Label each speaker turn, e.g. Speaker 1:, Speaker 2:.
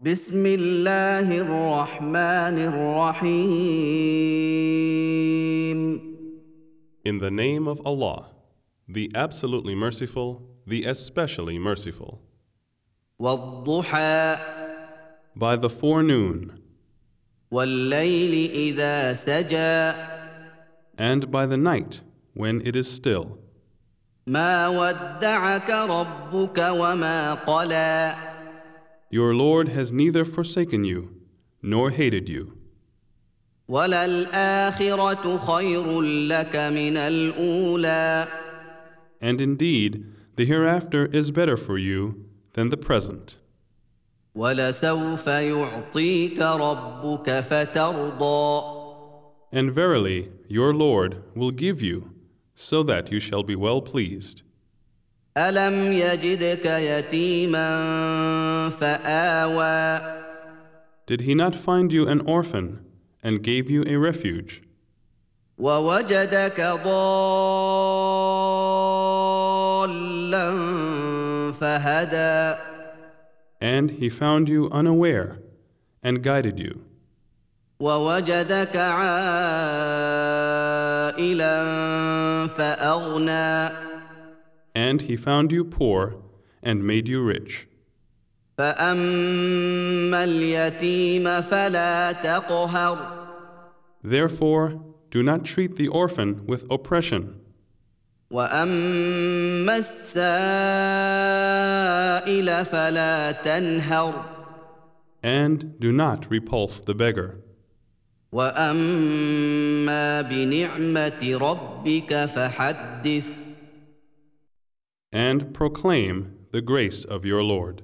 Speaker 1: بسم الله الرحمن الرحيم
Speaker 2: In the name of Allah, the absolutely merciful, the especially merciful.
Speaker 1: والضحى
Speaker 2: By the forenoon,
Speaker 1: والليل إذا سجى
Speaker 2: and by the night, when it is still.
Speaker 1: ما ودعك ربك وما قلى
Speaker 2: Your Lord has neither forsaken you, nor hated you,
Speaker 1: وللآخرة خير لك من الأولى
Speaker 2: and indeed, the hereafter is better for you than the present.
Speaker 1: ولسوف يعطيك ربك فترضى
Speaker 2: And verily, your Lord will give you, so that you shall be well pleased.
Speaker 1: ألم يجدك يتيما فآوى
Speaker 2: Did he not find you an orphan, and gave you a refuge?
Speaker 1: ووجدك ضالا فهدى
Speaker 2: And he found you unaware, and guided you,
Speaker 1: ووجدك عائلا فأغنى
Speaker 2: and he found you poor, and made you rich.
Speaker 1: فأما اليتيم فلا تقهر
Speaker 2: Therefore, do not treat the orphan with oppression,
Speaker 1: وأما السائل فلا تنهر
Speaker 2: and do not repulse the beggar.
Speaker 1: وأما بنعمة ربك فحدث
Speaker 2: and proclaim the grace of your Lord.